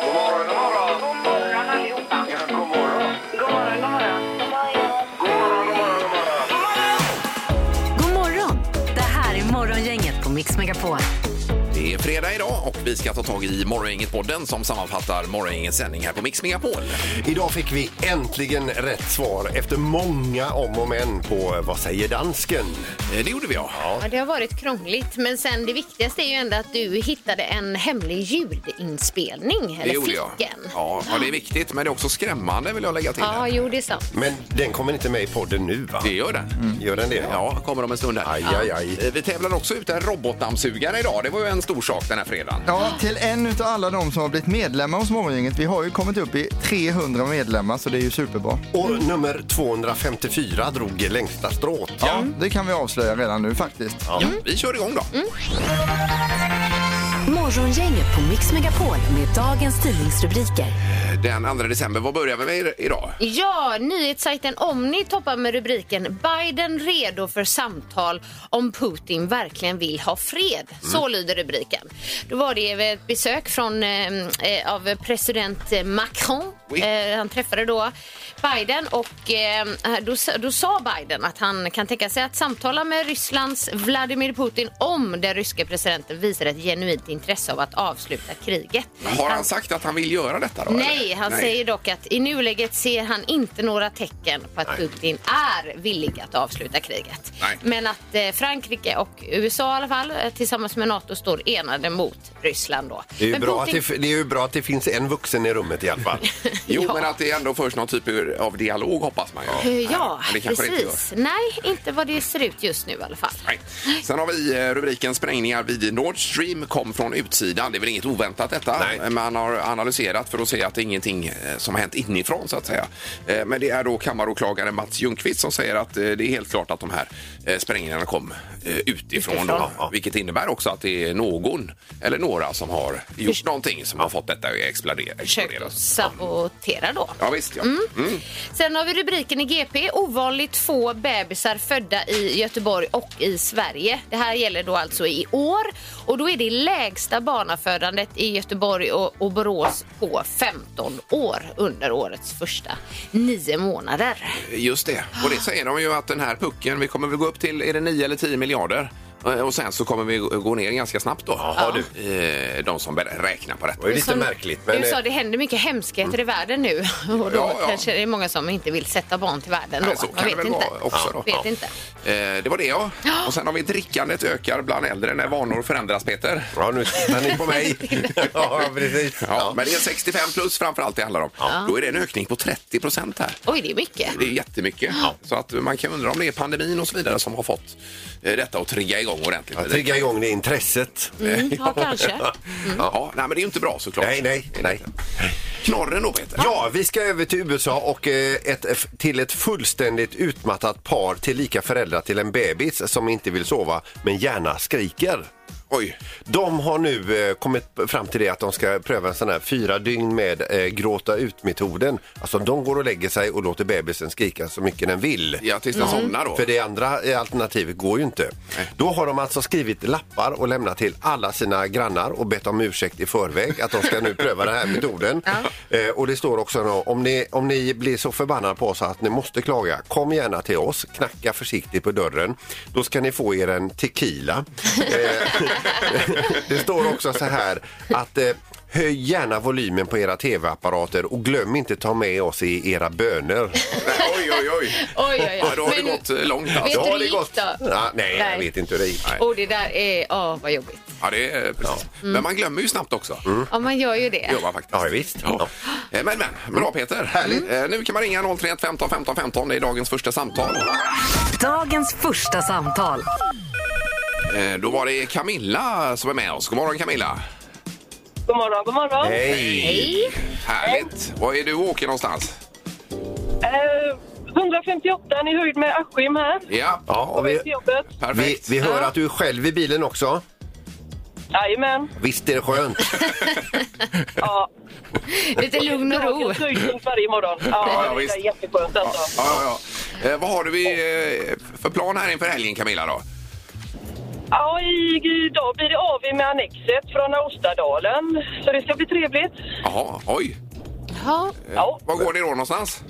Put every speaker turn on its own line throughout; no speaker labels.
God morgon, god morgon. God morgon allihopa. Ja, god morgon. God morgon, god morgon. God morgon, god morgon, god morgon.
God morgon! Det här är Morgongänget på Mix Megapol.
Det är fredag idag och vi ska ta tag i Morgongänget-podden som sammanfattar Morgongängets sändning här på Mix Megapol. Eh,
Idag fick vi äntligen rätt svar efter många om och men på eh, Vad säger dansken?
Eh, Det gjorde vi ja.
Ja, det har varit krångligt, men sen det viktigaste är ju ändå att du hittade en hemlig ljudinspelning.
Det
Eller
gjorde
fick
jag.
en.
Ja, ja, det är viktigt men det är också skrämmande vill jag lägga till.
Ja,
här.
jo, det är sant.
Men den kommer inte med i podden nu va?
Det gör den.
Mm.
Gör den det?
Ja, kommer om en stund här.
Aj, aj, aj.
Eh, Vi tävlar också ut en robotdammsugare idag. Det var ju en stor sak den här fredagen.
Ja, till en utav alla de som har blivit medlemmar hos Morgongänget. Vi har ju kommit upp i 300 medlemmar så det är ju superbra.
Och nummer 254 drog längsta strået.
Ja,
Mm.
det kan vi avslöja redan nu faktiskt.
Ja,
Mm.
vi kör igång då.
Morgongänget på Mix Megapol med dagens tidningsrubriker.
Eh, Den 2 december, vad börjar vi med idag?
Ja, nyhetssajten Omni toppar med rubriken Biden redo för samtal om Putin verkligen vill ha fred.
Mm.
Så lyder rubriken. Då var det ett besök från, eh, eh, av president eh, Macron.
Oui.
Eh, han träffade då Biden och eh, då, s- då sa Biden att han kan tänka sig att samtala med Rysslands Vladimir Putin om den ryske presidenten visar ett genuint intresse av att avsluta kriget. Alltså-
Har han sagt att han vill göra detta då?
Nej,
eller?
han säger dock att i nuläget ser han inte några tecken på att Putin är villig att avsluta kriget.
Nej.
Men att eh, Frankrike och USA i alla fall eh, tillsammans med NATO står enade mot Ryssland då.
Det är, ju
Men
bra att
Putin-
det, det är ju bra att det finns en vuxen i rummet i alla fall.
Jo,
Ja.
men att det ändå förs någon typ av dialog hoppas man ju.
Eh, Ja,
Men det kanske det inte gör.
precis. Nej, inte vad det ser ut just nu i alla fall.
Nej. Sen har vi eh, rubriken Sprängningar vid Nord Stream kom från utsidan. Det är väl inget oväntat detta.
Nej.
Man har analyserat för att se att det är ingenting eh, som har hänt inifrån så att säga. Eh, Men det är då kammaråklagare Mats Ljungqvist som säger att eh, det är helt klart att de här eh, sprängningarna kom eh, utifrån. Då,
Utifrån.
vilket innebär också att det är någon eller några som har gjort någonting som har fått detta att explodera.
Försökt
explodera.
att sabotera då.
Ja, visst, ja. Mm.
Sen har vi rubriken i GP. Ovanligt få bebisar födda i Göteborg och i Sverige. Det här gäller då alltså i år. Och då är det lägsta barnafödandet i Göteborg och, och Borås på 15 år under årets första nio månader.
Just det. Och det säger de ju att den här pucken, vi kommer väl gå upp till, är det 9 eller 10 miljarder? Eh, Och sen så kommer vi gå- gå ner ganska snabbt då.
Jaha,
du. Eh, De som ber- räknar på
Det är
detta.
lite
Som
märkligt. Men,
du sa,
eh,
det händer mycket hemskheter i världen nu. Och då
Mm. Ja, ja.
kanske det är många som inte vill sätta barn till världen då.
Nej, så kan
Man
det väl vara också då.
Vet
Ja.
inte.
Eh, Det var det ja. Och sen har vi drickandet ökar bland äldre när vanor förändras, Peter.
Ja, nu tittar ni på mig. ja, precis.
Ja, Men det är 65 plus framförallt det handlar om. Då är det en ökning på 30 procent här.
Oj, det är mycket.
Det är jättemycket. Så att man kan undra om det är pandemin och så vidare som har fått eh, detta att trigga igång ordentligt.
Ja, Trigga igång det intresset.
Ja, kanske. Mm.
Ja, nej, men det är ju inte bra såklart.
Nej, nej, nej.
Knorren då, Peter?
Ja, vi ska över till USA och eh, ett, till ett fullständigt utmattat par till lika föräldrar till en bebis som inte vill sova men gärna skriker.
Oj.
De har nu eh, kommit fram till det att de ska pröva en sån här fyra dygn med eh, gråta ut-metoden. Alltså de går och lägger sig och låter bebisen skrika så mycket den vill.
Ja, tills
Mm.
den somnar då.
För det andra eh, alternativet går ju inte. Då har de alltså skrivit lappar och lämnat till alla sina grannar och bett om ursäkt i förväg att de ska nu pröva den här metoden. Eh, och det står också då, om ni, om ni blir så förbannade på oss att ni måste klaga, kom gärna till oss, knacka försiktigt på dörren. Då ska ni få er en tequila. Eh, det står också så här att eh, Höj gärna volymen på era tv-apparater och glöm inte ta med oss i era böner.
Oj, oj, oj.
Oj, oj, oj.
Ja, då har det
Men-
gått eh, långt
Vet
alltså.
du
Ja,
hur det
det,
gick då?
Ja, nej,
Nej.
jag vet inte hur det gick.
Och det där är, åh vad jobbigt.
ja, det är eh, precis.
Mm.
Men man glömmer ju snabbt också.
Ja, man gör ju det.
Gör man faktiskt.
Mm. Ja, visst.
Ja. Eh, Men, men. Bra, Peter. Härligt. Eh, Nu kan man ringa 031 15 15 15. Det är dagens första samtal.
Dagens första samtal.
Eh, Då var det Camilla som är med oss. God morgon, Camilla.
God morgon, god morgon.
Hej!
Härligt. Var är du och åker någonstans?
Eh, på
158 i höjd med Askim här.
Ja,
Ja, och vi,
Till jobbet.
vi,
perfekt.
vi hör att du är själv i bilen också.
Jajamän.
Visst är det skönt?
Ja.
Lite lugn och ro.
Dagens höjdpunkt varje morgon.
Ja,
Ja,
ja,
det
visst.
är jätteskönt alltså.
Ja, ja. Eh, vad har du vi, eh, för plan här inför helgen Camilla då?
Ja, i- idag blir det AV med Annexet från Austadalen. Så det ska bli trevligt.
Jaha, oj.
Ja.
Ja.
Var går ni då någonstans?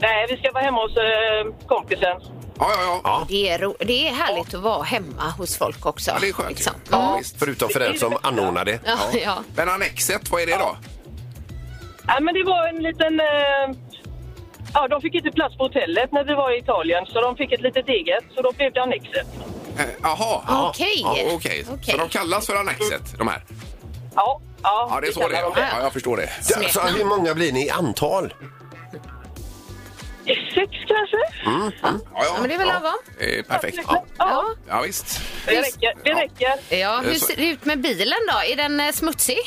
Nej, vi ska vara hemma hos eh, kompisen.
Ja, ja, ja. ja.
Det är, ro- det är härligt att vara hemma hos folk också.
det är skönt.
liksom.
ju.
Mm.
Ja, visst.
Förutom för den som anordnar det.
Ja, ja.
Men Annexet, vad är det då?
Ja, men det var en liten... Eh, ja, de fick inte plats på hotellet när vi var i Italien, så de fick ett litet eget. Så då blev det Annexet.
Eh, Jaha. Ja.
Okej.
Ja, okej. Så
Okej.
de kallas för Annexet, de här?
Ja, ja,
Ja, det är så
kallar
det är.
de
Ja, ja, jag förstår det.
Ja, Så Alltså, hur många blir ni i antal?
Sex kanske?
Ja,
men det är väl lagom.
Eh, Mm, Perfekt.
Ja,
Ja,
Ja.
ja visst.
det räcker. Det räcker.
Ja, hur
Eh, så-
ser det ut med bilen då? Är den eh, smutsig?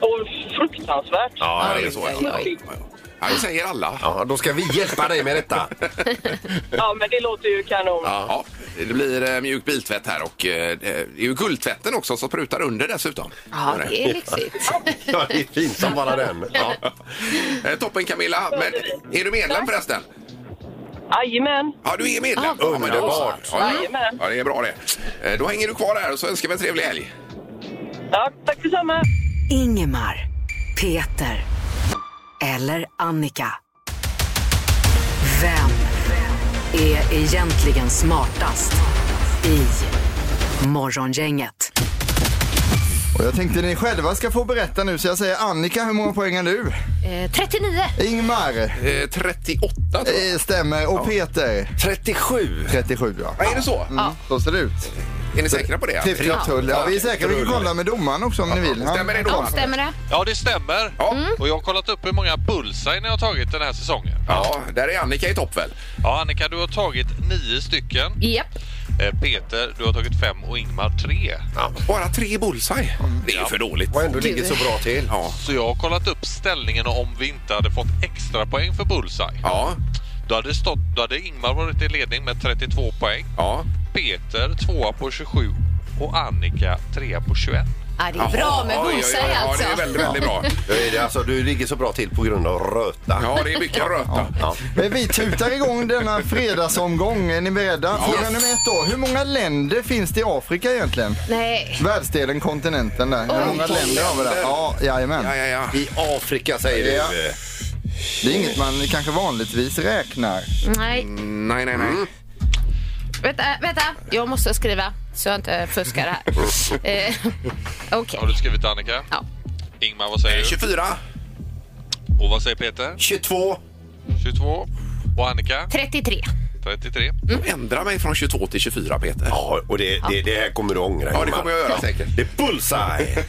Och fruktansvärt.
Ja, det är så. Ja, ja, ja. ja det säger alla.
Ja, då ska vi hjälpa dig med detta.
Ja, men det låter ju kanon.
Ja, det blir eh, mjuk biltvätt här och eh, det är ju guldtvätten också som prutar under dessutom.
Ja, det är lyxigt.
Ja, det är fint som bara den. Ja.
Eh, Toppen Camilla, men är du medlem förresten?
Jajamän.
Ja, du är medlem.
Ja,
men då så.
underbart.
Ja, ja.
Jajamän.
ja, det är bra det. Eh, Då hänger du kvar här och så önskar vi en trevlig helg.
Ja, tack detsamma.
Ingemar, Peter eller Annika. Vem är egentligen smartast i Morgongänget?
Och jag tänkte ni själva ska få berätta nu, så jag säger Annika, hur många poäng har du?
Eh, 39.
Ingmar,
Eh, 38 tror jag.
eh, stämmer. Och Peter,
37.
37 ja.
Ja, Är det så?
Mm, så ser det ut.
Är ni säkra på det?
Tripp, trapp, tull. Ja, vi är säkra. Vi kan kolla med domaren också om ni vill. Han-
Stämmer det då?
Ja, stämmer det?
Ja, det stämmer.
Ja.
Och jag har kollat upp hur många bullseye ni har tagit den här säsongen.
Ja, där är Annika i topp väl?
Ja, Annika, du har tagit nio stycken.
Japp.
Eh, Peter, du har tagit fem och Ingmar tre.
Bara tre bullseye.
Mm.
Det är ju för dåligt.
Och ändå ligger så bra till.
Ja.
Så jag har kollat upp ställningen om vi inte hade fått extra poäng för bullseye.
Ja.
Då hade, det stått, då hade Ingmar varit i ledning med 32 poäng.
Ja.
Peter tvåa på 27 och Annika trea på 21.
Ja, det är bra med
Oj, oj, oj.
bullseye alltså.
Ja, det är väldigt, väldigt bra.
Då är det alltså, du ligger så bra till på grund av röta.
Ja, det är mycket röta.
Ja.
Men Vi tutar igång denna fredagsomgång. Är ni beredda? Fråga nummer ett då. Hur många länder finns det i Afrika egentligen?
Nej.
Världsdelen, kontinenten där. Hur många länder har vi där? Ja, jajamän.
Ja, ja, ja.
I Afrika säger du.
Ja. Det är inget man kanske vanligtvis räknar.
Nej.
Mm, Nej, nej,
Mm.
nej.
Vänta, vänta. Jag måste skriva så jag inte fuskar här. Eh, Okej.
Har du skrivit Annika?
Ja.
Ingmar, vad säger
Eh,
du?
24.
Och vad säger Peter?
22.
22. Och Annika?
33.
33.
Mm.
Ändra mig från 22 till 24, Peter.
Ja, och det, det, det här kommer du ångra.
Ja, det
Ingmar.
kommer jag göra säkert.
Det är bullseye!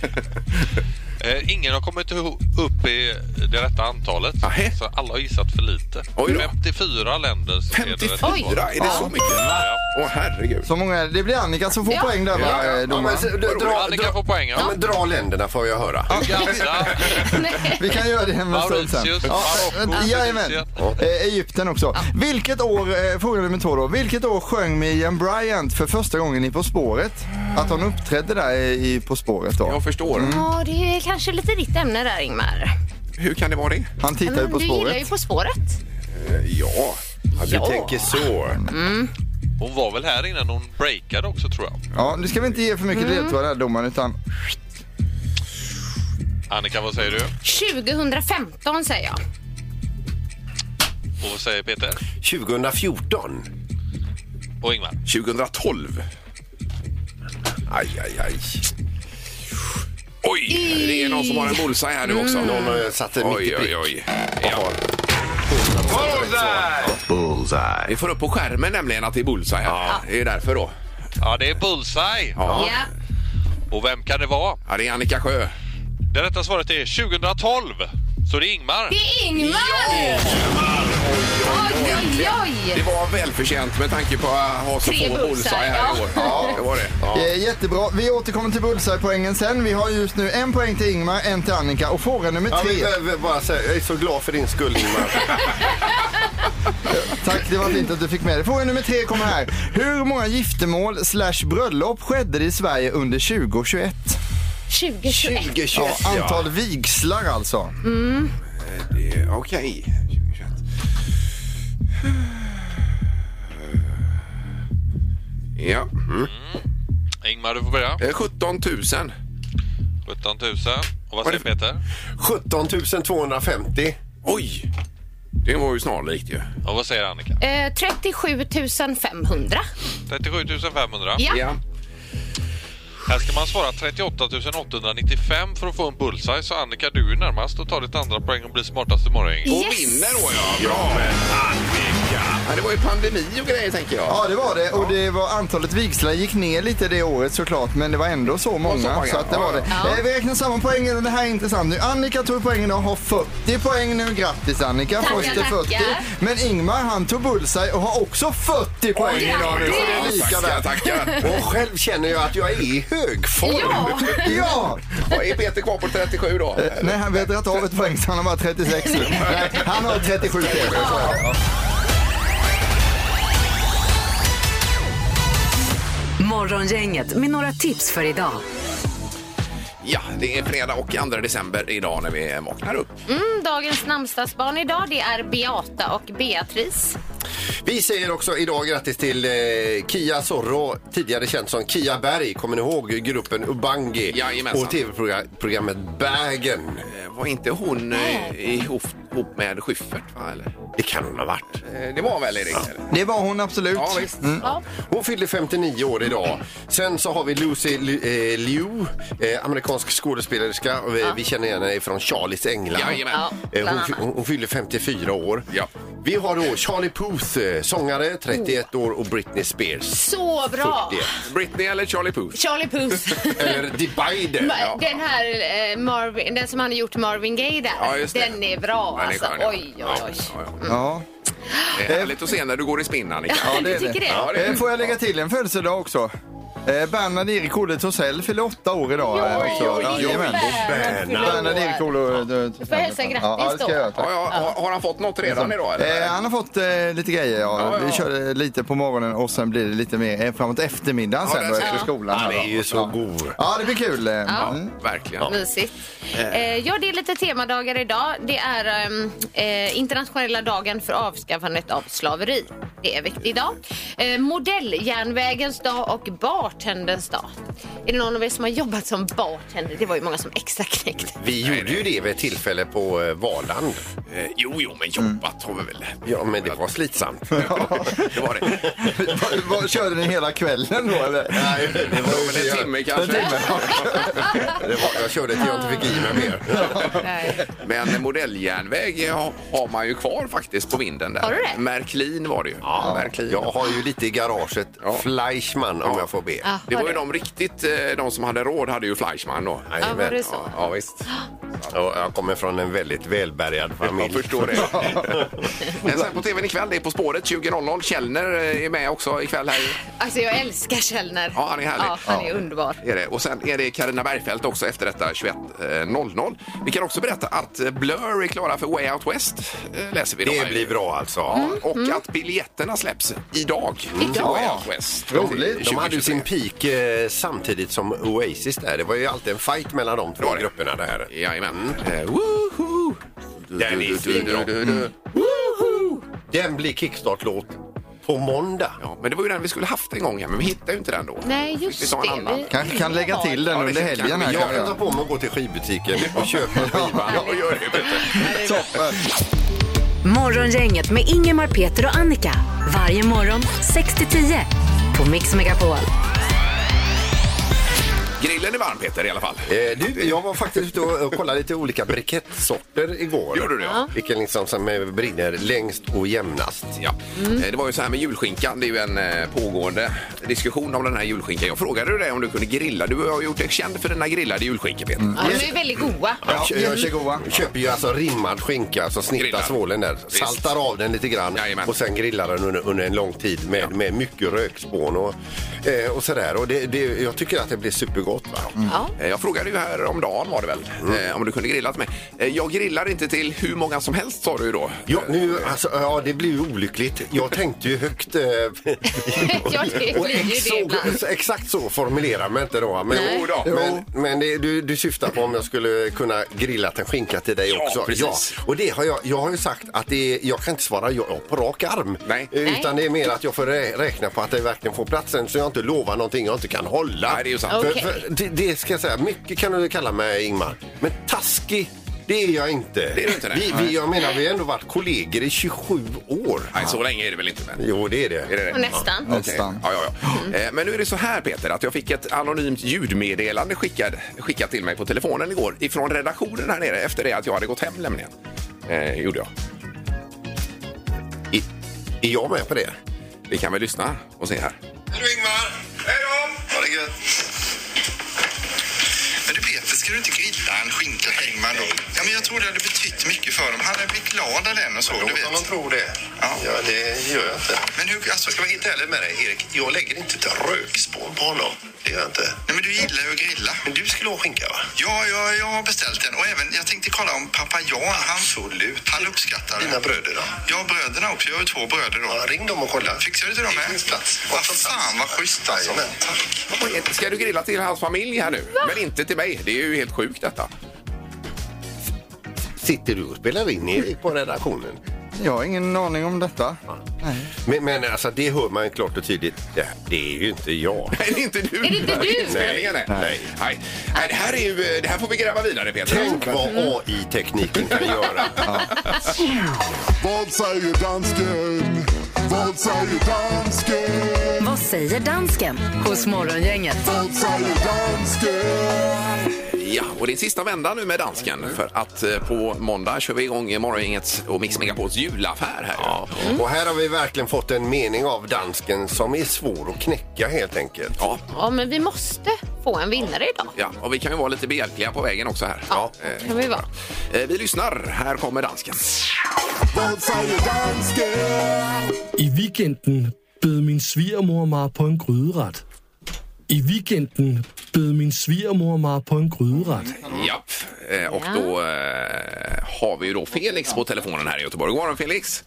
Eh, ingen har kommit iho- upp i det rätta antalet.
Nähä.
Så alla har gissat för lite.
Oj då.
54 länder. som är det rätta
54?
svaret.
Är det så mycket? Åh, herregud.
Så många, det blir Annika som får
Ja.
poäng där va, eh,
Ja, men,
domaren?
se- dra, dra,
Annika får poäng.
ja,
Ja.
men dra länderna får jag höra.
Uganda,
Vi kan göra det en stund sen.
Mauritius,
Ja,
Marocko,
vänta, Jajamän.
Tunisien.
Eh, Egypten också. Vilket år, eh, fråga nummer två då. Vilket år sjöng Miriam Bryant för första gången i På spåret? Att hon uppträdde där i i På spåret då.
Jag förstår.
Mm.
Ja, det är kanske lite ditt ämne där, Ingmar.
Hur kan det vara det?
Han tittar ju
Men
På
du gillar ju
spåret.
På spåret.
Ja.
Du tänker så.
Mm. Hon var väl här innan hon breakade också tror jag.
Ja, nu ska vi inte ge för mycket ledtrådar här domaren utan
Annika, vad säger du?
2015 säger jag.
Och vad säger Peter?
2014.
Och Ingmar?
2012.
Aj, aj, aj.
Oj! Det är någon som har en bullseye här nu också.
Någon eh, satte mitt
Oj,
i
oj,
prick.
oj. Ja. Vi får upp på skärmen nämligen att det är bullseye. Ja. Det är därför då.
Ja, det är Bullseye.
Ja.
Ja.
Och vem kan det vara?
Ja, det är Annika Sjö.
Det rätta svaret är 2012. Så det är Ingmar.
Det är Ingmar! Ja!
Oj, oj, oj!
Det var välförtjänt med tanke på att ha så
Tre
få
bullseye,
bullseye här i
ja.
år. Ja, det var det. Ja.
Eh, Jättebra. Vi återkommer till bullseye-poängen sen. Vi har just nu en poäng till Ingmar, en till Annika och fråga nummer
Ja, men,
tre.
jag vill bara säga, jag är så glad för din skull Ingmar.
Tack, det var fint att du fick med dig. Fråga nummer tre kommer här. Hur många giftermål slash bröllop skedde det i Sverige under 2021?
2021.
2021
Ja, antal vigslar alltså.
Mm.
Det- Okej. 2021. Ja. Mm.
Ingmar, du får börja.
Eh, 17 000.
17 000. Och vad säger Peter?
17 250.
Oj! Det var ju snarlikt ju.
Och vad säger Annika?
Eh, 37 500.
37 500.
Ja.
Här ska man svara 38 895 för att få en bullseye. Så Annika, du är närmast och tar ditt andra poäng och blir smartast i morgon.
Och vinner då ja. Bra! Annika! Ja, det var ju pandemi och grejer tänker jag.
Ja, det var det. Och det var antalet vigslar gick ner lite det året såklart, men det var ändå så
så
många.
många.
Så att det var det.
Ja.
Eh, Vi räknar samman poängen och det här är intressant nu. Annika tog poängen och har 40 poäng nu. Grattis Annika,
Tackar,
först till 40.
tackar.
Men Ingmar han tog bullseye och har också 40 poäng idag nu. Så det är lika
Tackar,
där.
tackar.
Och själv känner jag att jag är i högform.
Ja.
Ja!
Och är Peter kvar på 37 då?
Eh, Nej, han vet att av ett poäng så han har bara 36 nu. Nej, han har 37 till.
Morgongänget med några tips för idag.
Ja, det är fredag och 2 december idag när vi vaknar upp.
Mm, dagens namnsdagsbarn idag det är Beata och Beatrice.
Vi säger också idag grattis till eh, Kia Sorro, tidigare känd som Kia Berg. Kommer ni ihåg gruppen Ubangi?
Jajamensan.
Och tv-programmet Bagen.
Eh, Var inte hon eh, ihop, ihop med Schyffert? Va, eller?
Det kan hon ha varit.
Eh, Det var väl Erik? eller?
Det var hon absolut.
Ja, visst.
Ja.
Hon fyllde 59 år idag. Sen så har vi Lucy Li- eh, Liu, eh, amerikansk skådespelerska. Vi, vi känner igen henne från Charlies Änglar.
Jajamän.
Ja,
Eh,
bland
Hon, fy-
annat.
hon, hon fyllde 54 år.
Ja.
Vi har då Charlie Puth, eh, sångare, 31 år och Britney Spears.
Så bra!
41.
Britney eller Charlie Puth?
Charlie Puth.
Eller The Biden.
Ma- Den här eh, Marvin, den som han har gjort Marvin Gaye där,
Ja, just det.
den är bra
Den är
alltså.
skön, ja.
Oj, oj, oj.
Ja, ja.
Ja.
Det är härligt att se när du går i spinn, Annika.
Ja, det är
Jag tycker
det.
det.
Ja, det är
Eh,
det.
Får jag lägga till en födelsedag också? Eh, Bernhard Erik Olle Torssell fyller åtta år idag. eh,
Oj,
också.
oj,
Ja,
oj.
jajamän. Bernhard Erik Olle eh, Torssell.
Du får hälsa grattis
ja, det ska jag göra, tack.
Ja, ja, har, har han fått något redan idag? Eller?
Eh, han har fått eh, lite grejer. Ja.
Ja, ja.
Vi körde lite på morgonen och sen blir det lite mer eh, framåt eftermiddagen
Ja,
sen
det
då
ska-
efter
Ja.
skolan.
Han
här då.
är ju så god.
Ja, det blir kul. eh, mm.
Verkligen.
Mysigt. Eh, ja, det är lite temadagar idag. Det är ehm, eh, internationella dagen för avskaffandet av slaveri. Det är en viktig dag. Eh, modelljärnvägens dag och bartenderns dag. Är det någon av er som har jobbat som bartender? Det var ju många som extra knäckt.
Vi gjorde ju det vid ett tillfälle på eh, Valand.
Eh, jo, jo, men jobbat har vi väl.
Ja, men det var slitsamt.
Det var det.
Vad- vad- Körde ni hela kvällen då eller?
Nej, det var
Men en timme kanske.
Det var, jag körde till jag inte fick i mig mer.
Men modelljärnväg ja, har man ju kvar faktiskt på vinden där.
Har du det?
Märklin var det ju. Ja, Märklin.
Jag har ju lite i garaget Fleischmann om jag får be.
Ja,
Det var ju
har
de riktigt, eh, de som hade råd hade ju Fleischmann då.
Ja, var det så?
Ja, ja visst.
Och jag kommer från en väldigt välbärgad
Jag
familj.
förstår det. Men sen på tvn ikväll, det är På spåret 20.00. Kellner eh, är med också ikväll här.
Alltså jag älskar Källner.
Ja, han är härlig.
Ja, han är underbar.
Är det. Och sen är det Carina Bergfeldt också efter detta 21.00. Vi kan också berätta att eh, Blur är klara för Way Out West. eh, Läser vi då här. Mm,
Det blir bra alltså.
Och att biljetterna släpps idag. till Way Out West.
Roligt.
De hade ju sin
2023.
peak eh, samtidigt som Oasis där. Det var ju alltid en fight mellan de två grupperna det här.
Jajamän. Eh, Woho!
Den är svinbra.
Mm.
Den blir kickstart-låt på måndag.
Ja, men det var ju den vi skulle haft en gång, ja, men vi hittade ju inte den då.
Nej,
Fick vi
just
ta en
det.
annan?
Vi-
Kanske kan lägga till den
Ja, det
under
kan-
helgen här.
kan-
Jag
kanske.
kan ta på mig och gå till skivbutiken och köpa skivan.
Ja, gör det. Peter.
Toppen.
Morgongänget med Ingemar, Peter och Annika. Varje morgon 6 till 10 på Mix Megapol.
Grillen är varm Peter i alla fall.
Eh, du, jag var faktiskt ute och och kollade lite olika brikettsorter igår.
Gjorde du, ja.
Vilken liksom som eh, brinner längst och jämnast.
Ja. Eh, Det var ju så här med julskinkan. Det är ju en eh, pågående diskussion om den här julskinkan. Jag frågade ju dig om du kunde grilla. Du har gjort dig känd för dina grillade julskinkor Peter.
Mm.
Ja, de är väldigt goda.
Jag kö- jag kö- köper ju alltså rimmad skinka, alltså snittar
Grillad.
svålen där,
Visst.
saltar av den lite grann och sen grillar den under, under en lång tid med, med mycket rökspån och, eh, och sådär. Och det, det, jag tycker att det blir supergott. Va?
Ja.
Eh, Jag frågade ju här om dagen var det väl,
Mm.
eh, om du kunde grilla till mig. Eh, Jag grillar inte till hur många som helst sa du ju då.
Ja, nu, alltså, ja, det blir ju olyckligt. Jag tänkte ju högt. Eh,
Ja, det
och
blir ju det
så,
ibland.
exakt så formulerar man inte då. Men,
Nej. Jo då.
men, men det, du, du syftar på om jag skulle kunna grilla en skinka till dig
Ja,
också.
precis.
Och det har jag, jag har ju sagt att det är, jag kan inte svara ja på rak arm.
Nej.
Eh, Utan det är mer att jag får rä- räkna på att det verkligen får platsen så jag inte lovar någonting jag inte kan hålla.
Nej, det är ju sant.
För,
Okej.
för, det, det ska jag säga, mycket kan du kalla mig Ingmar. Men taskig, det är jag inte.
Det är du inte, nej.
vi, vi, jag menar, vi har ändå varit kollegor i 27 år.
Nej, så länge är det väl inte. Men.
Jo, det är det.
Är det det?
Nästan.
Okej.
Nästan.
Ja, ja, ja. Eh, Men nu är det så här Peter, att jag fick ett anonymt ljudmeddelande skickat, skickat till mig på telefonen igår ifrån redaktionen här nere efter det att jag hade gått hem nämligen. Eh, gjorde jag.
I, är jag med på det?
Vi kan väl lyssna och se här.
Hej då Ingmar! Hej då! Ha det gött! Men du Peter, ska du inte grilla en skinka till Ingmar då? Ja, men jag tror det hade betytt mycket för dem. Han hade blivit glad av den och så, du vet. Låt honom tro det. Ja. det gör jag inte. Men hur, alltså, ska jag vara helt ärlig med dig Erik, jag lägger inte ett rökspår på honom. Det gör jag inte. Nej, men du gillar ju att grilla. Men du skulle ha skinka va? Ja, ja, jag har beställt den och även, jag tänkte kolla om pappa Jan, han, Absolut. han uppskattar det. Dina bröder då? Ja, bröderna också. Jag har ju två bröder då. ring dem och kolla. Fixar du till dem med? Det finns plats. Vad fan vad schysst alltså. Tack.
Ska du grilla till hans familj här nu? Men inte till mig. Det är ju helt sjukt detta.
Sitter du och spelar in Erik på redaktionen?
Jag har ingen aning om detta.
Men, men alltså, det hör man ju klart och tydligt. Det, det är ju inte jag.
Nej, det är inte du.
Är det inte du?
Nej, nej. Nej. Nej. Det, här är ju, eh, det här får vi gräva vidare Peter.
Tänk vad AI-tekniken kan göra.
Vad säger dansken? Vad säger dansken?
Vad säger dansken hos Morgongänget?
Vad säger dansken?
Ja, och det är sista vändan nu med dansken för att eh, på måndag kör vi igång Morgongängets och Mix Megapols julaffär här. Ja.
Och här har vi verkligen fått en mening av dansken som är svår att knäcka helt enkelt.
Ja.
Ja, men vi måste få en vinnare idag.
Ja, och vi kan ju vara lite behjälpliga på vägen också här.
Ja,
Eh,
kan vi vara.
eh, Vi lyssnar. Här kommer dansken.
Vad säger dansken?
I weekenden bed min svigermor mig på en gryderet. I weekenden bed min svigermor mig på en gryderet.
Ja. Och
Ja.
då eh, har vi ju då Felix på telefonen här i Göteborg. God morgon Felix!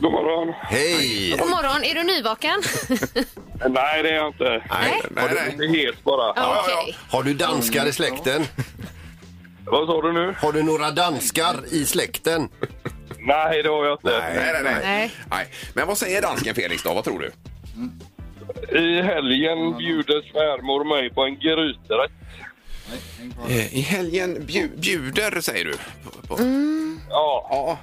God morgon.
Hej!
God morgon, är du nyvaken?
Nej, det är jag inte.
Nej,
Nej, nej.
Det är helt bara.
Okej.
Har du danskar i släkten?
Vad sa du nu?
Har du några danskar i släkten?
Nej, det har jag inte.
Nej, nej, nej.
Nej.
nej. Men vad säger dansken Felix då? Vad tror du?
I helgen bjuder svärmor mig på en gryträtt.
Eh, I helgen bju- bjuder, säger du? På, på.
Ja,
Ja.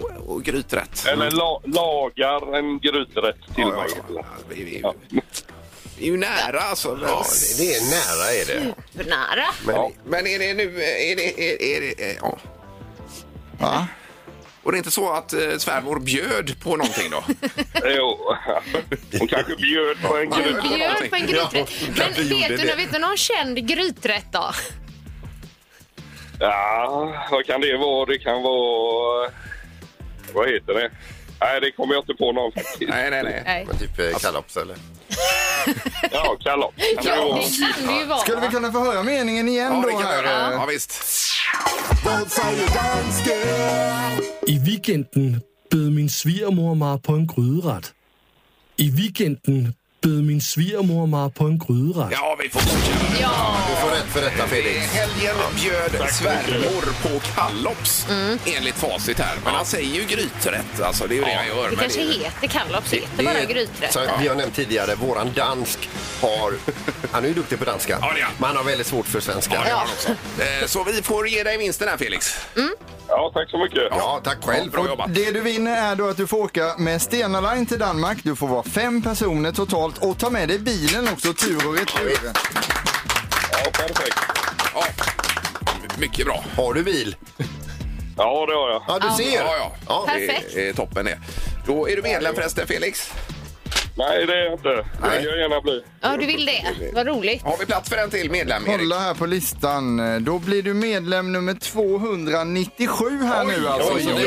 Och, och gryträtt.
eller la lagar en gryträtt till
Ja,
mig.
ja, ja. Vi, vi, vi är ju nära alltså.
Ja, det- det är nära är det.
Nära.
Men,
Ja. Men är det nu... Är det, är, är det, eh, ja.
Va?
Och det är inte så att eh, svärmor bjöd på någonting då?
Jo. Hon kanske bjöd på en gryträtt.
Bjöd på en gryträtt.
Ja,
Men
du gjorde
vet du,
det.
vet du någon känd gryträtt då?
Ja, vad kan det vara? Det kan vara... Vad heter det? Nej, det kommer jag inte på någon faktiskt.
nej, nej, nej.
Nej.
men typ eh, kalops eller?
Ja, kallops. kan det
Ja,
vara.
det kan det ju vara.
Skulle vi kunna få höra meningen igen
Ja, det
då?
kan
Här?
jag göra. Ja, visst.
Vad säger dansken?
I weekenden bed min svigermor mig på en gryderet. I weekenden bed min svigermor mig på en gryderet.
Ja, vi får godkänna det.
Du får rätt för detta
I
Felix.
helgen bjöd svärmor på kallops enligt facit här. Men han säger ju gryträtt, alltså. Det är ju det han gör.
Det
men
kanske
det är ju-
heter Kallops, heter
Det
bara
är-
gryträtt.
Så vi har nämnt tidigare, våran dansk har... Han är ju duktig på danska.
Ja, det är han.
Men han har väldigt svårt för svenska.
Ja, det har han också. Eh, Så vi får ge dig vinsten här, Felix.
Ja, tack så mycket.
Ja, tack själv.
bra jobbat.
Det du vinner är då att du får åka med Stena Line till Danmark. Du får vara fem personer totalt och ta med dig bilen också tur och retur.
Ja, perfekt.
Ja. Mycket bra.
Har du bil?
Ja, det har jag.
Ja, du ser.
Ja, ja. ja
Perfekt.
Det är toppen det. Då är du medlem förresten, Felix.
Nej, det är jag inte. Det vill jag gärna bli.
Ja, du vill det? Vad roligt.
Har vi plats för en till medlem, Erik?
Kolla här på listan. Då blir du medlem nummer 297 här nu alltså.
oj,
Så
oj, oj,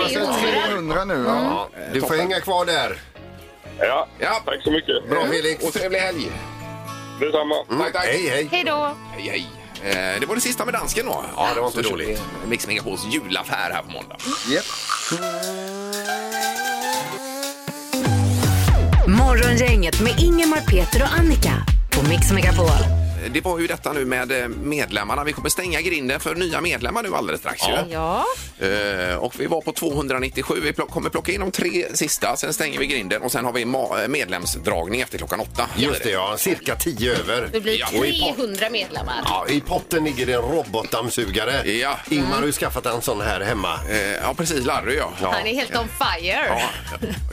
oj.
det är 300 nu.
Mm.
Ja.
Du får hänga kvar där.
Ja,
Ja.
tack så mycket.
Bra Felix. Mm.
Och trevlig helg.
Detsamma.
Tack, tack.
Hej, hej.
Hej då.
Hej, hej. Eh, Det var det sista med dansken då.
Ja, det var inte
Så kör
dåligt.
vi Mix Megapols julaffär här på måndag.
Japp.
Morgongänget med Ingemar, Peter och Annika på Mix Megapol.
Eh, Det var ju detta nu med eh, medlemmarna. Vi kommer stänga grinden för nya medlemmar nu alldeles strax. ju.
Ja.
Eh, Och vi var på 297. Vi plock, kommer plocka in de tre sista, sen stänger vi grinden och sen har vi ma- eh, medlemsdragning efter klockan åtta.
Just det, ja. Cirka tio över.
Det blir
Ja,
och i pott-
300 medlemmar.
Ja, I potten ligger det en robotdammsugare.
Ja.
Ingmar har ju skaffat en sån här hemma.
Eh, Ja, precis. Larry, ja. ja.
Han är helt on fire.
ja.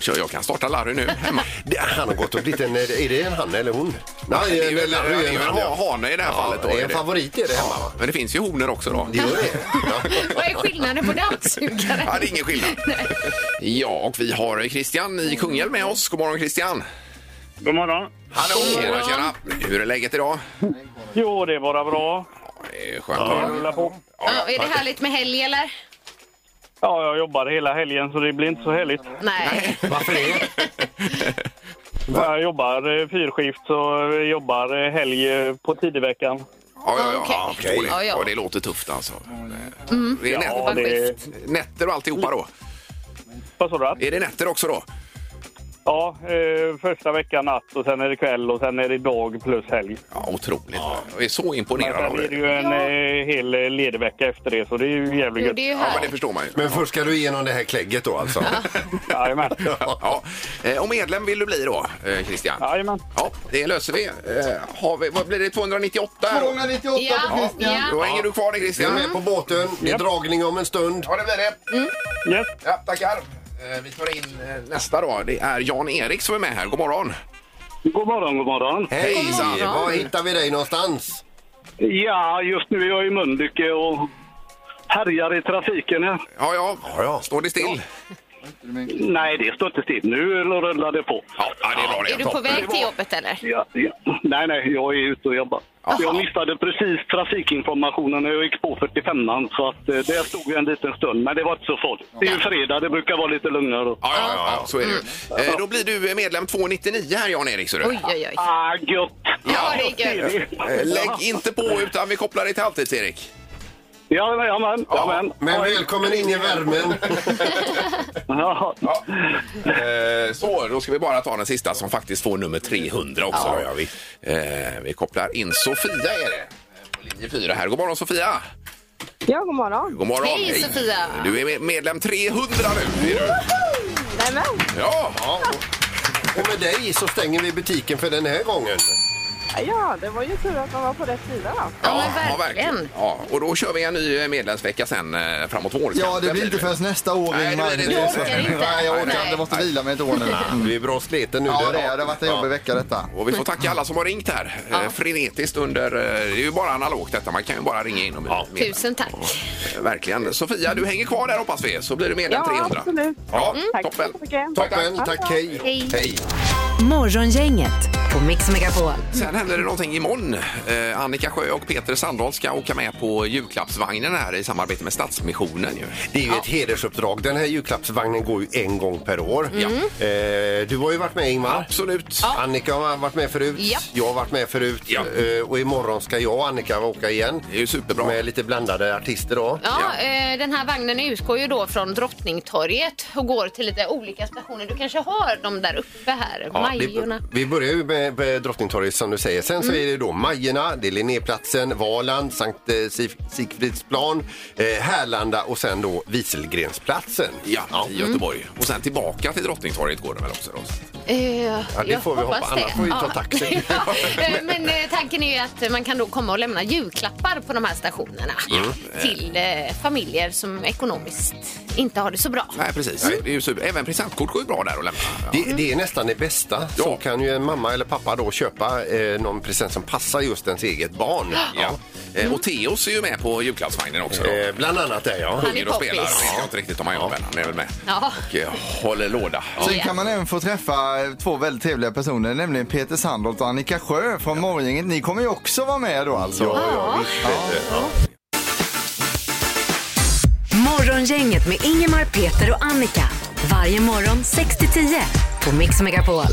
Kör, jag kan starta Larry nu hemma.
Det- Han har gått och blivit en... Är det en han eller hon? Nej,
det är ju
en-
Larry, det är ju en
han, ja.
hane i det här
Ja,
fallet. Då,
det är
är
en
det.
favorit är det hemma va?
Men det finns ju honor också då.
Det gör det.
Vad är skillnaden på dammsugaren?
Ja, det är ingen skillnad. Ja, och vi har Christian i Kungälv med oss. God morgon Christian!
God morgon.
Hallå! Tjena, tjena! Hur är läget idag?
Jo, det är bara bra.
Det är skönt att höra.
Rullar på.
Ja, är det härligt med helg eller?
Ja, jag jobbar hela helgen så det blir inte så härligt.
Nej.
Varför det?
Jag jobbar eh, fyrskift så jag jobbar eh, helg eh, på tidigveckan.
Ja, ja, ja, ja,
Ah, Okej.
förstår det.
Ja, ja.
ja, det låter tufft alltså. Det är
Ja,
nät-
det,
nätter och alltihopa då?
vad sa du? att?
Är det nätter också då?
Ja, eh, första veckan natt och sen är det kväll och sen är det dag plus helg.
Ja, otroligt. Jag är så
Men
imponerad av
sen är det
det.
ju en eh, hel eh, ledig vecka efter det så det är ju jävligt
Jo,
gött.
det är ju
Ja, men det
härligt.
förstår man ju.
Men först ska du igenom det här klägget då alltså.
Jajamän.
Ja. Eh, Och medlem vill du bli då, eh, Christian?
Jajamän.
Ja, det löser vi. Eh, Har vi vad blir det, 298? här då?
298 på
Ja,
Christian.
ja.
Då hänger du kvar där
Vi är
Christian.
med på båten. Det är
Japp.
dragning om en stund.
Ja, det blir det.
Yes.
Ja, tackar. Eh, Vi tar in eh, nästa då. Det är Jan-Erik som är med här. God morgon!
God morgon, god morgon.
Hejsan!
God morgon.
Var hittar vi dig någonstans?
Ja, just nu är jag i Mölnlycke och härjar i trafiken. här.
Ja, ja.
Ja, ja.
Står det still?
Nej, det står inte still. Nu rullar det på.
Ja, ja det är bra det.
Är du på
Toppen.
väg till jobbet eller?
Ja, ja. Nej, nej, jag är ute och jobbar. Jag missade precis trafikinformationen när jag gick på 45an så att eh, där stod jag en liten stund. Men det var inte så farligt. Det är ju fredag, det brukar vara lite lugnare då.
Ja, ja, ja, ja, så är det ju. Eh, Då blir du medlem 299 här, Jan-Erik. ser du.
Mm. Oj, oj, oj.
Ah, gött!
Ja, det är gött.
Eh, Lägg inte på, utan vi kopplar dig till alltid, Erik.
Ja, jajamän, jajamän.
Men välkommen in i värmen.
Ja,
Ja. Eh, Så, då ska vi bara ta den sista som faktiskt får nummer 300 också. Ja, vi. Eh, vi kopplar in Sofia, är det. På linje 4 här. God morgon, Sofia!
Ja, god morgon.
God morgon!
Hej, Sofia.
Du är med- medlem 300 nu. Är du?
Nämen,
Ja!
Och med dig så stänger vi butiken för den här gången.
ja, det var ju tur att man var på rätt sida då.
Ja, men verkligen.
Ja, och då kör vi en ny medlemsvecka sen eh, framåt våren.
Ja, det blir inte förrän nästa år
Nej, det
Ingmar.
blir det inte.
Jag orkar inte.
Nej, jag orkar
Nej.
inte. Jag måste vila mig ett år nu.
Vi är bra sliten nu.
Ja, det är. Det har varit en jobbig vecka detta.
Och vi får tacka alla som har ringt här eh, frenetiskt under... eh, Det är ju bara analogt detta, man kan ju bara ringa in och bli medlem.
Tusen tack.
Eh, Verkligen. Sofia, du hänger kvar där hoppas vi, så blir du medlem
Ja,
300.
absolut. Mm,
Ja,
Tack
toppen.
så mycket.
Tack, tack.
Toppen, tack, hej.
Hej.
Morgongänget på Mix Megapol.
Sen händer det någonting imorgon. Eh, Annika Sjö och Peter Sandahl ska åka med på julklappsvagnen här i samarbete med Stadsmissionen. Ju.
Det är ju ett hedersuppdrag. Den här julklappsvagnen går ju en gång per år.
Mm.
Eh, du har ju varit med Ingmar.
Mm. Absolut.
Annika har varit med förut.
Ja.
Jag har varit med förut.
Ja.
Eh, och imorgon ska jag och Annika åka igen.
Det är ju superbra.
Med lite blandade artister då.
Ja.
Ja, eh, den här vagnen utgår ju då från Drottningtorget och går till lite olika stationer. Du kanske har dem där uppe här.
Ja,
Majorna.
det, vi börjar ju med, med Drottningtorget som du säger. Sen så är det då Majorna, det är Linnéplatsen, Valand, Sankt eh, Sif- Sigfridsplan, eh, Härlanda och sen då Wieselgrensplatsen.
Ja, i Göteborg. Och sen tillbaka till Drottningtorget går det väl också? Då.
Eh,
det
jag
får vi
hoppas
hoppa. Annars
det.
får vi ta
Ja.
taxi.
Ja, eh, Men eh, tanken är ju att man kan då komma och lämna julklappar på de här stationerna Mm. till eh, familjer som ekonomiskt inte har det så bra.
Nej, precis.
Mm.
Det är ju super. Även presentkort går ju bra där att lämna.
Det, det är nästan det bästa. Så kan ju en mamma eller pappa då köpa eh, någon present som passar just ens eget barn.
Ja. Eh, Och Theoz är ju med på julklappsvagnen också.
Eh, bland annat det, ja.
Sjunger och
Han är
spelar.
poppis.
Vet jag inte riktigt om han gör, men han är väl med.
Ja.
Och eh, håller låda.
Sen kan man även få träffa eh, två väldigt trevliga personer, nämligen Peter Sandholt och Annika Sjö från Morgongänget. Ni kommer ju också vara med då alltså.
Ja, ja, visst,
Peter.
Morgongänget med Ingemar, Peter och Annika. Varje morgon 6 till 10 på Mix Megapol.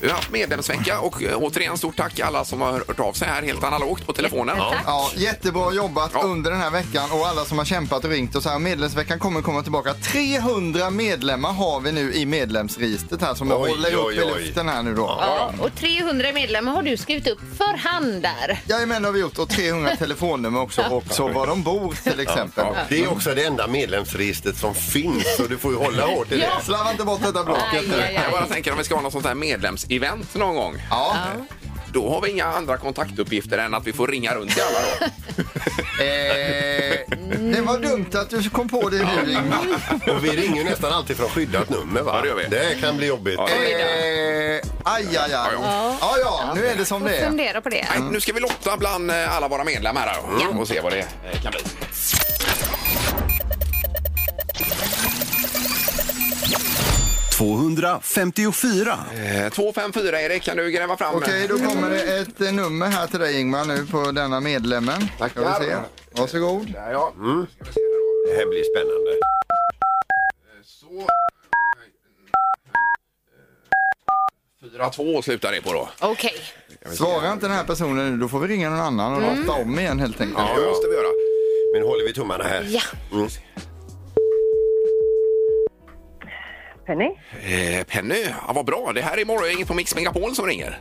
Vi har haft medlemsvecka och eh, återigen stort tack alla som har hört av sig här helt analogt på telefonen.
Ja, jättebra jobbat under den här veckan och alla som har kämpat och ringt och så här. Medlemsveckan kommer komma tillbaka. 300 medlemmar har vi nu i medlemsregistret här som jag
Oj,
håller upp
oj,
i
oj.
luften här nu då.
Ja, och 300 medlemmar har du skrivit upp för hand där.
Jajamän, det har vi gjort. Och 300 telefonnummer också. Och så var de bor till exempel.
Ja. Det är också det enda medlemsregistret som finns så du får ju hålla hårt i det.
Ja. Slarva inte bort detta blocket nu.
Jag bara tänker om vi ska ha något sånt här medlemsevent någon gång.
Ja.
Då har vi inga andra kontaktuppgifter än att vi får ringa runt till alla då.
Eh, det var dumt att du kom på det nu Ingmar.
Och vi ringer ju nästan alltid från skyddat nummer va?
Ja, det gör vi.
kan bli jobbigt.
Eh, aj, aj, aj. Ja, ja, nu är det som det är.
Fundera på det.
Nej, nu ska vi lotta bland eh, alla våra medlemmar här då. och se vad det eh, kan bli. Eh, 254 Erik, kan du gräva fram?
Okej, då kommer det ett eh, nummer här till dig Ingmar nu på denna medlemmen. Ska vi se. Varsågod.
Där, ja.
Mm. Det här blir spännande.
Så. 4-2 slutar det på då.
Okej.
Svarar inte den här personen nu, då får vi ringa någon annan och
Mm.
låta om igen helt enkelt.
Ja, det måste vi göra.
Men håller vi tummarna här.
Ja.
Mm.
Penny?
Eh, Penny, ja, vad bra. Det här är morgongänget på Mix Megapol som ringer.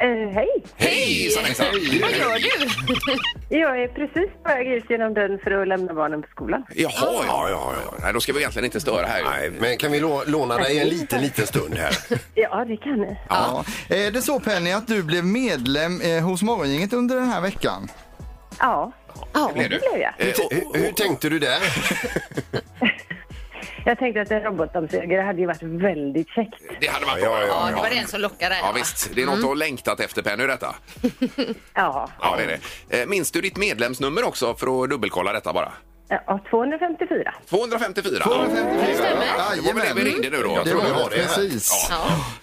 Eh, hej!
Hej! Hejsan, hejsan.
Vad gör du? Jag är precis på väg ut genom dörren för att lämna barnen på skolan.
Jaha, ja, ja, ja, ja. Nej, då ska vi egentligen inte störa här.
Nej, men kan vi lå- låna dig en liten, liten stund här?
Ja, det kan ni.
Ja. Är det så Penny att du blev medlem eh, hos Morgongänget under den här veckan?
Ja,
Ja,
det blev jag.
Eh.
Hur, t- hur, hur tänkte du där?
Jag tänkte att en robotdammsugare hade ju varit väldigt käckt.
Det hade varit bra.
Ja, det var den som lockade.
Ja, visst. Det är något du har längtat efter, Penny, detta.
Ja,
Ja, det är det. Eh, Minns du ditt medlemsnummer också för att dubbelkolla detta bara?
ja 254.
254. Ja, det var väl det vi ringde nu då?
Det
tror
var
vi
det,
har här.
precis.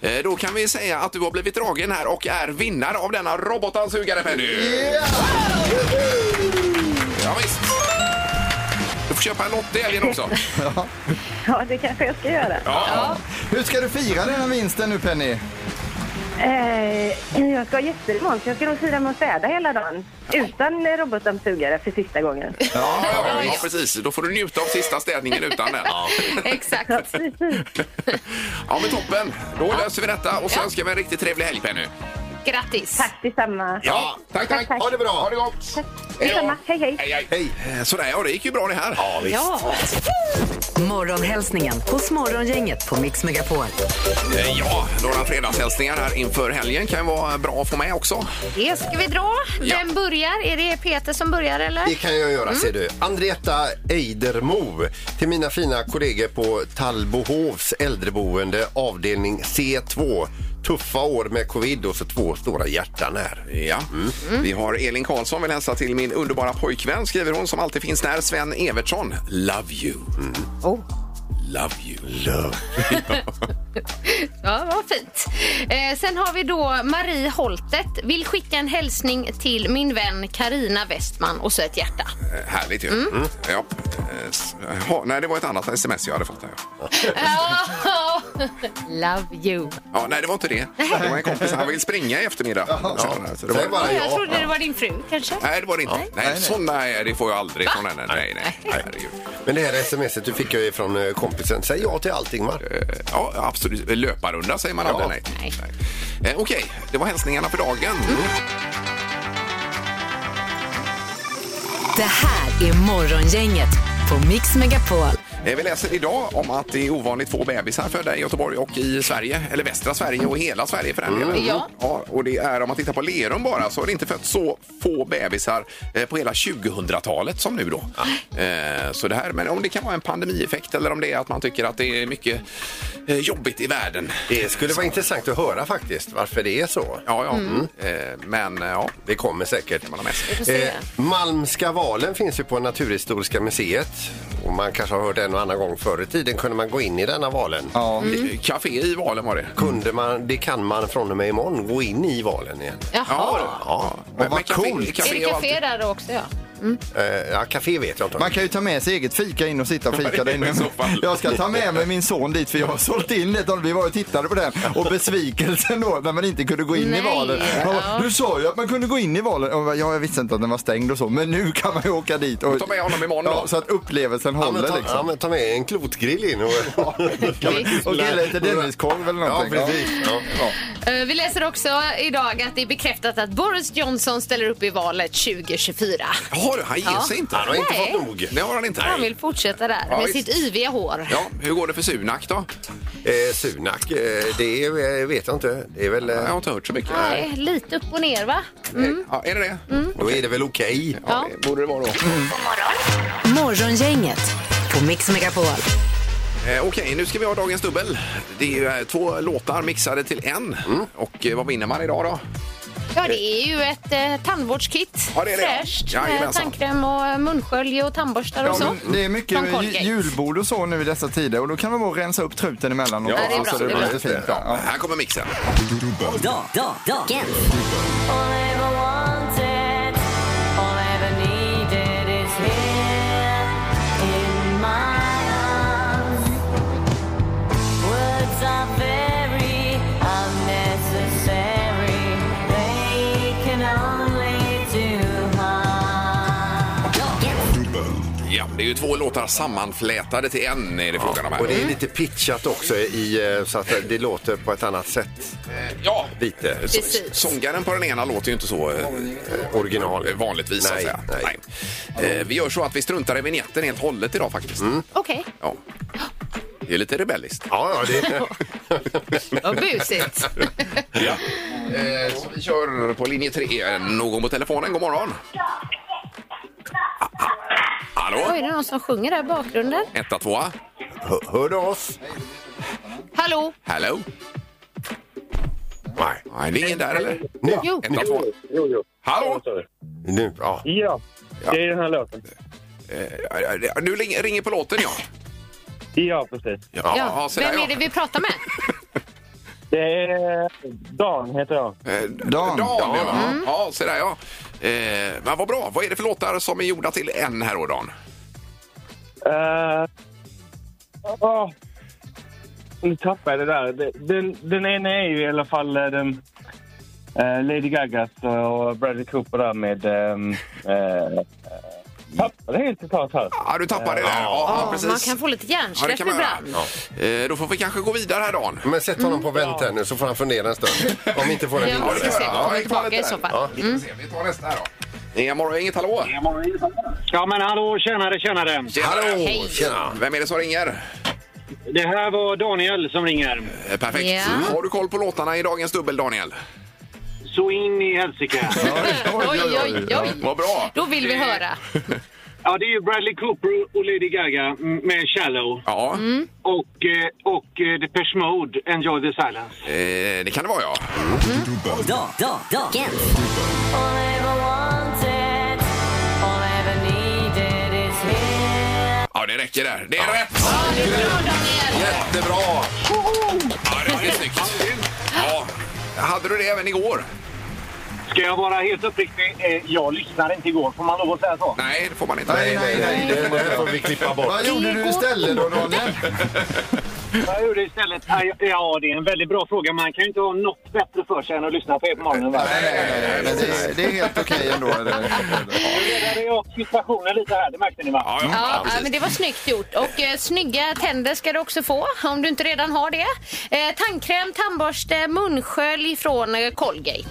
Ja. Eh, Då kan vi säga att du har blivit dragen här och är vinnare av denna robotdammsugare, Penny. Ja, visst. Du får köpa en lott i helgen också.
Ja, det kanske jag ska göra.
Ja.
Hur ska du fira den här vinsten nu Penny?
Eh, jag ska ha gäster imorgon, så jag ska nog fira med att städa hela dagen. Utan eh, robotdammsugare för sista gången.
Ja, ja, precis. Då får du njuta av sista städningen utan den. Ja,
Exakt.
men toppen. Då löser vi detta och så önskar vi en riktigt trevlig helg, Penny.
Grattis.
Tack detsamma.
Ja, tack, tack.
tack.
Ha det bra. Ha det gott.
Detsamma. Hej, hej.
Hej, hej. Eh, Sådär, ja, det gick ju bra det här. Ja,
Ja. Morgonhälsningen hos Morgongänget på Mix Megapol.
Eh, Ja, några fredagshälsningar här inför helgen kan ju vara bra att få med också.
Det ska vi dra. Vem börjar? Är det Peter som börjar eller?
Det kan jag göra, ser du.
Mm.
Andrietta Eidermo till mina fina kollegor på Tallbohovs äldreboende avdelning C2. Tuffa år med covid och så två stora hjärtan här.
Ja. Mm. Vi har Elin Karlsson vill hälsa till min underbara pojkvän, skriver hon, som alltid finns där, Sven Evertsson. Love you.
Oh.
Love you. Mm. Love.
Ja, vad fint. Eh, sen har vi då Marie Holtet. Vill skicka en hälsning till min vän Karina Westman och så ett hjärta.
Härligt ju.
Mm.
Mm. Eh, Ja. Eh, s- jaha, nej, det var ett annat sms jag hade fått. Där.
Ja, Love you.
Ja, nej, det var inte det. Det var en kompis. Han vill springa i eftermiddag. Ja, så det var
Ja, jag trodde det var din fru kanske.
Nej, det var det inte. Nej,
nej.
sådana är det får jag aldrig från henne. Nej, nej.
Men det här smset du fick jag ju från eh, kompisen. Säg ja till allting va?
Eh, Ja, absolut. Löparunda säger man aldrig nej till.
Nej. Mm.
Eh, Okej, det var hälsningarna för dagen.
Det här är Morgongänget på Mix Megapol.
Eh, Vi läser idag om att det är ovanligt få bebisar födda i Göteborg och i Sverige, eller västra Sverige och hela Sverige för den
Mm.
delen.
Ja.
och det är om man tittar på Lerum bara så har det inte fötts så få bebisar eh, på hela 2000-talet som nu då.
Ah.
Eh, Så det här, men om det kan vara en pandemieffekt eller om det är att man tycker att det är mycket eh, jobbigt i världen.
Det skulle vara intressant att höra faktiskt varför det är så.
Ja, ja.
Mm.
Eh, Men eh, ja.
Det kommer säkert. Man
Vi får
Eh,
se.
Malmska valen finns ju på Naturhistoriska museet. Och man kanske har hört en och annan gång förr i tiden kunde man gå in i denna valen.
Ja.
Mm.
Eh, Café i valen var det.
Kunde man, det kan man från och med imorgon gå in i valen igen.
Jaha.
Ja, men, vad coolt!
är det café där också ja?
Eh, ja, café vet jag inte.
Man kan ju ta med sig eget fika in och sitta och
Ja,
fika
det
där
är
inne.
i så fall.
Jag ska ta med mig min son dit för jag har sålt in det. Vi var och tittade på den och besvikelsen då när man inte kunde gå in
Nej,
i valen. Man bara,
ja.
Du sa ju att man kunde gå in i valen. Och jag bara, ja, jag visste inte att den var stängd och så. Men nu kan man ju åka dit. Och,
Ta med honom imorgon då.
ja, så att upplevelsen
Ja, men
håller
ta, ja,
liksom.
men ta med en klotgrill in och...
Och grilla lite Denniskorv eller någonting.
Ja, precis. Ja.
Eh, Vi läser också idag att det är bekräftat att Boris Johnson ställer upp i valet 2024.
Jaha, du, han ger
Ja.
sig inte.
Han har inte Nej. fått
nog.
Det har han inte.
Han vill fortsätta där
Ja,
med
visst.
sitt yviga hår.
Ja, hur går det för Sunak då?
Eh, Sunak, eh, det är, eh, vet jag inte. Det är väl... eh, Jag har
inte hört så mycket. Eh,
Nej, lite upp och ner va? Mm.
Ja, är det det?
Då är det väl okej.
Ja.
det borde det vara då.
Morgongänget på Mix Megapol.
Eh, Okej, nu ska vi ha dagens dubbel. Det är ju eh, två låtar mixade till en. Och eh, vad vinner man idag då?
Ja, det är ju ett eh, tandvårdskit.
Ja, det är det.
Fräscht. med
Jajamensan.
tandkräm och eh, munskölj och tandborstar och
Ja,
så.
men det är mycket
Från
ju-
Colgate.
julbord och så nu i dessa tider och då kan man bara rensa upp truten emellanåt.
Ja, det
också,
är bra,
så alltså, det
det är
blir
bra.
lite fint. där. Ja.
Här kommer mixen.
Dag, dag, dagen.
Ja, det är ju två låtar sammanflätade till en är det frågan om här.
Och det är lite pitchat också i, eh, så att det låter på ett annat sätt.
Ja,
Lite.
Precis. sångaren på den ena låter ju inte så eh,
original
eh, vanligtvis. så att
Nej,
säga. Nej. Eh, vi gör så att vi struntar i vignetten helt och hållet idag faktiskt.
Mm.
Okej,
Ja. Det är lite rebelliskt.
Ja, ja det...
vad busigt.
ja. Eh, så vi kör på linje tre. Någon på telefonen, god morgon. Ah, Hallå?
Oj, är det någon som sjunger där i bakgrunden?
Etta, tvåa.
Hör du oss?
Hallå?
Hello?
Nej.
Nej, det är ingen där eller?
Nu.
Jo.
Etta, två.
Jo, jo.
Hallå?
Nu, ja.
Ja, det är den här låten.
Eh, Du ling- ringer på låten ja.
Ja, precis.
Ja, ja, så där,
Vem är det vi pratar med?
Det är... Dan heter jag.
Eh,
Dan.
Dan, ja. Mm. Ja, så där ja. Eh, men vad bra. Vad är det för låtar som är gjorda till en här då, Dan?
Eh, åh. Nu tappade jag det där. Det- Den, den ena är ju i alla fall eh, den, eh, Lady Gagas och Bradley Cooper där med... Um, uh, tappade helt totalt här.
Ja, du tappade det där. Ja,
Ja,
precis.
man kan få lite
Ja, det
hjärnsläpp
kan man göra.
ibland.
Ja. Eh, Då får vi kanske gå vidare här, Dan.
Men sätt honom på vänt här nu så får han fundera en stund. Om vi inte får en
Mm. Ja,
vinnare.
vi ska se. Vi kommer tillbaka i så
Ja.
fall. Mm.
Vi får se. Vi tar nästa här då. Eh, morgon, inget hallå?
Ja, men hallå, tjenare, tjenare.
Hallå!
Hej.
Tjena. Vem är det som ringer?
Det här var Daniel som ringer.
Eh, Perfekt.
Ja.
Har du koll på låtarna i dagens dubbel, Daniel?
Så in i helsike.
Oj, oj, oj.
Vad bra.
Då vill vi höra.
Ja, det är ju Bradley Cooper och Lady Gaga med Shallow.
Ja.
Mm.
Och, eh, och eh, Depeche Mode, Enjoy the Silence.
Eh, det kan det vara, ja.
Dag, dag, dagen.
Ja, det räcker där. Det är rätt!
Jättebra!
Ja, det är snyggt. Ja. Hade du det även igår?
Ska jag vara helt uppriktig? Eh, jag lyssnade inte igår. Får man lov att säga så?
Nej, det får man inte.
Nej, nej, nej.
Det här får vi klippa bort.
Vad gjorde du istället då, Daniel?
Jag gjorde istället... Ja, ja, Ja, det är en väldigt bra fråga. Man kan ju inte ha något bättre för sig än att lyssna på er på morgonen. Va?
Men det, det är helt okej ändå. eller?
Ledade jag upp situationen lite här, det märkte ni va?
Ja, ja, men det var snyggt gjort. Och eh, snygga tänder ska du också få om du inte redan har det. Eh, tandkräm, tandborste, munskölj från eh, Colgate.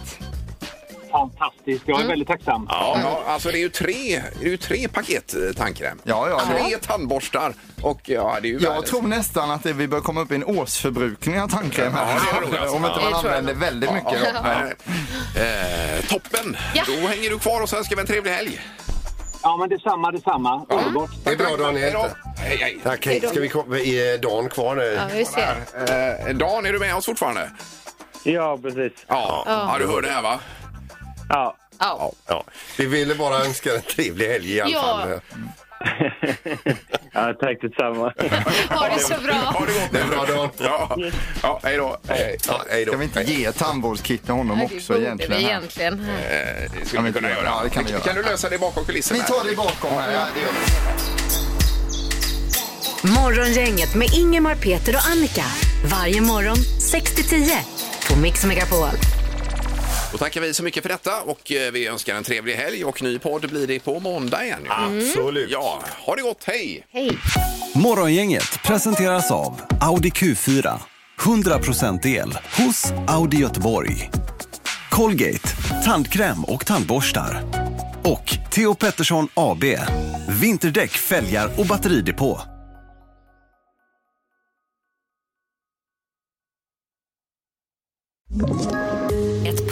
Fantastiskt, jag är väldigt tacksam.
Ja, ja, alltså det är ju tre, det är ju tre paket eh, tandkräm.
Ja, ja,
tre tandborstar och ja, det är ju
Jag
världens-
tror nästan att det, vi bör komma upp i en årsförbrukning av tandkräm här.
Ja, det tror jag, alltså.
Om inte man
Ja, det tror jag.
använder väldigt mycket.
Ja,
då.
ja, nej. Eh, toppen! Då hänger du kvar och så önskar vi en trevlig helg.
Ja, men detsamma, detsamma. Underbart.
Det är bra Daniel.
Hej Hej, hej.
Tack, hej. Ska vi komma i eh, Dan kvar nu?
Ja, vi ser.
Eh, Dan, är du med oss fortfarande?
Ja, precis.
Ja,
Ja.
ja du hör det här va?
Ja.
Ja.
Ja. Vi ville bara önska en trevlig helg i alla
Ja.
fall. eh.
ja, tack detsamma.
Ha det så bra.
Det är bra Dan.
Ja, ja hej då. Hej.
Ja, hej då.
Ska vi inte ge tandvårdskitten honom
det
också
borde
egentligen?
vi
här?
egentligen.
Eh, det
Kan
skulle
vi
vi kunna
inte-
göra.
ja, det kan vi göra.
du lösa det bakom kulisserna?
Vi tar det bakom här. Ja, det gör vi.
Morgongänget med Ingemar, Peter och Annika. Varje morgon 6 till 10 på Mix Megapol.
Då tackar vi så mycket för detta och eh, vi önskar en trevlig helg och ny podd blir det på måndag igen. ju.
Absolut.
Ja, ha det gott, hej!
Hej.
Morgongänget presenteras av Audi Q4. 100% el hos Audi Göteborg. Colgate, tandkräm och tandborstar. Och Theo Pettersson AB, vinterdäck, fälgar och batteridepå.
Ett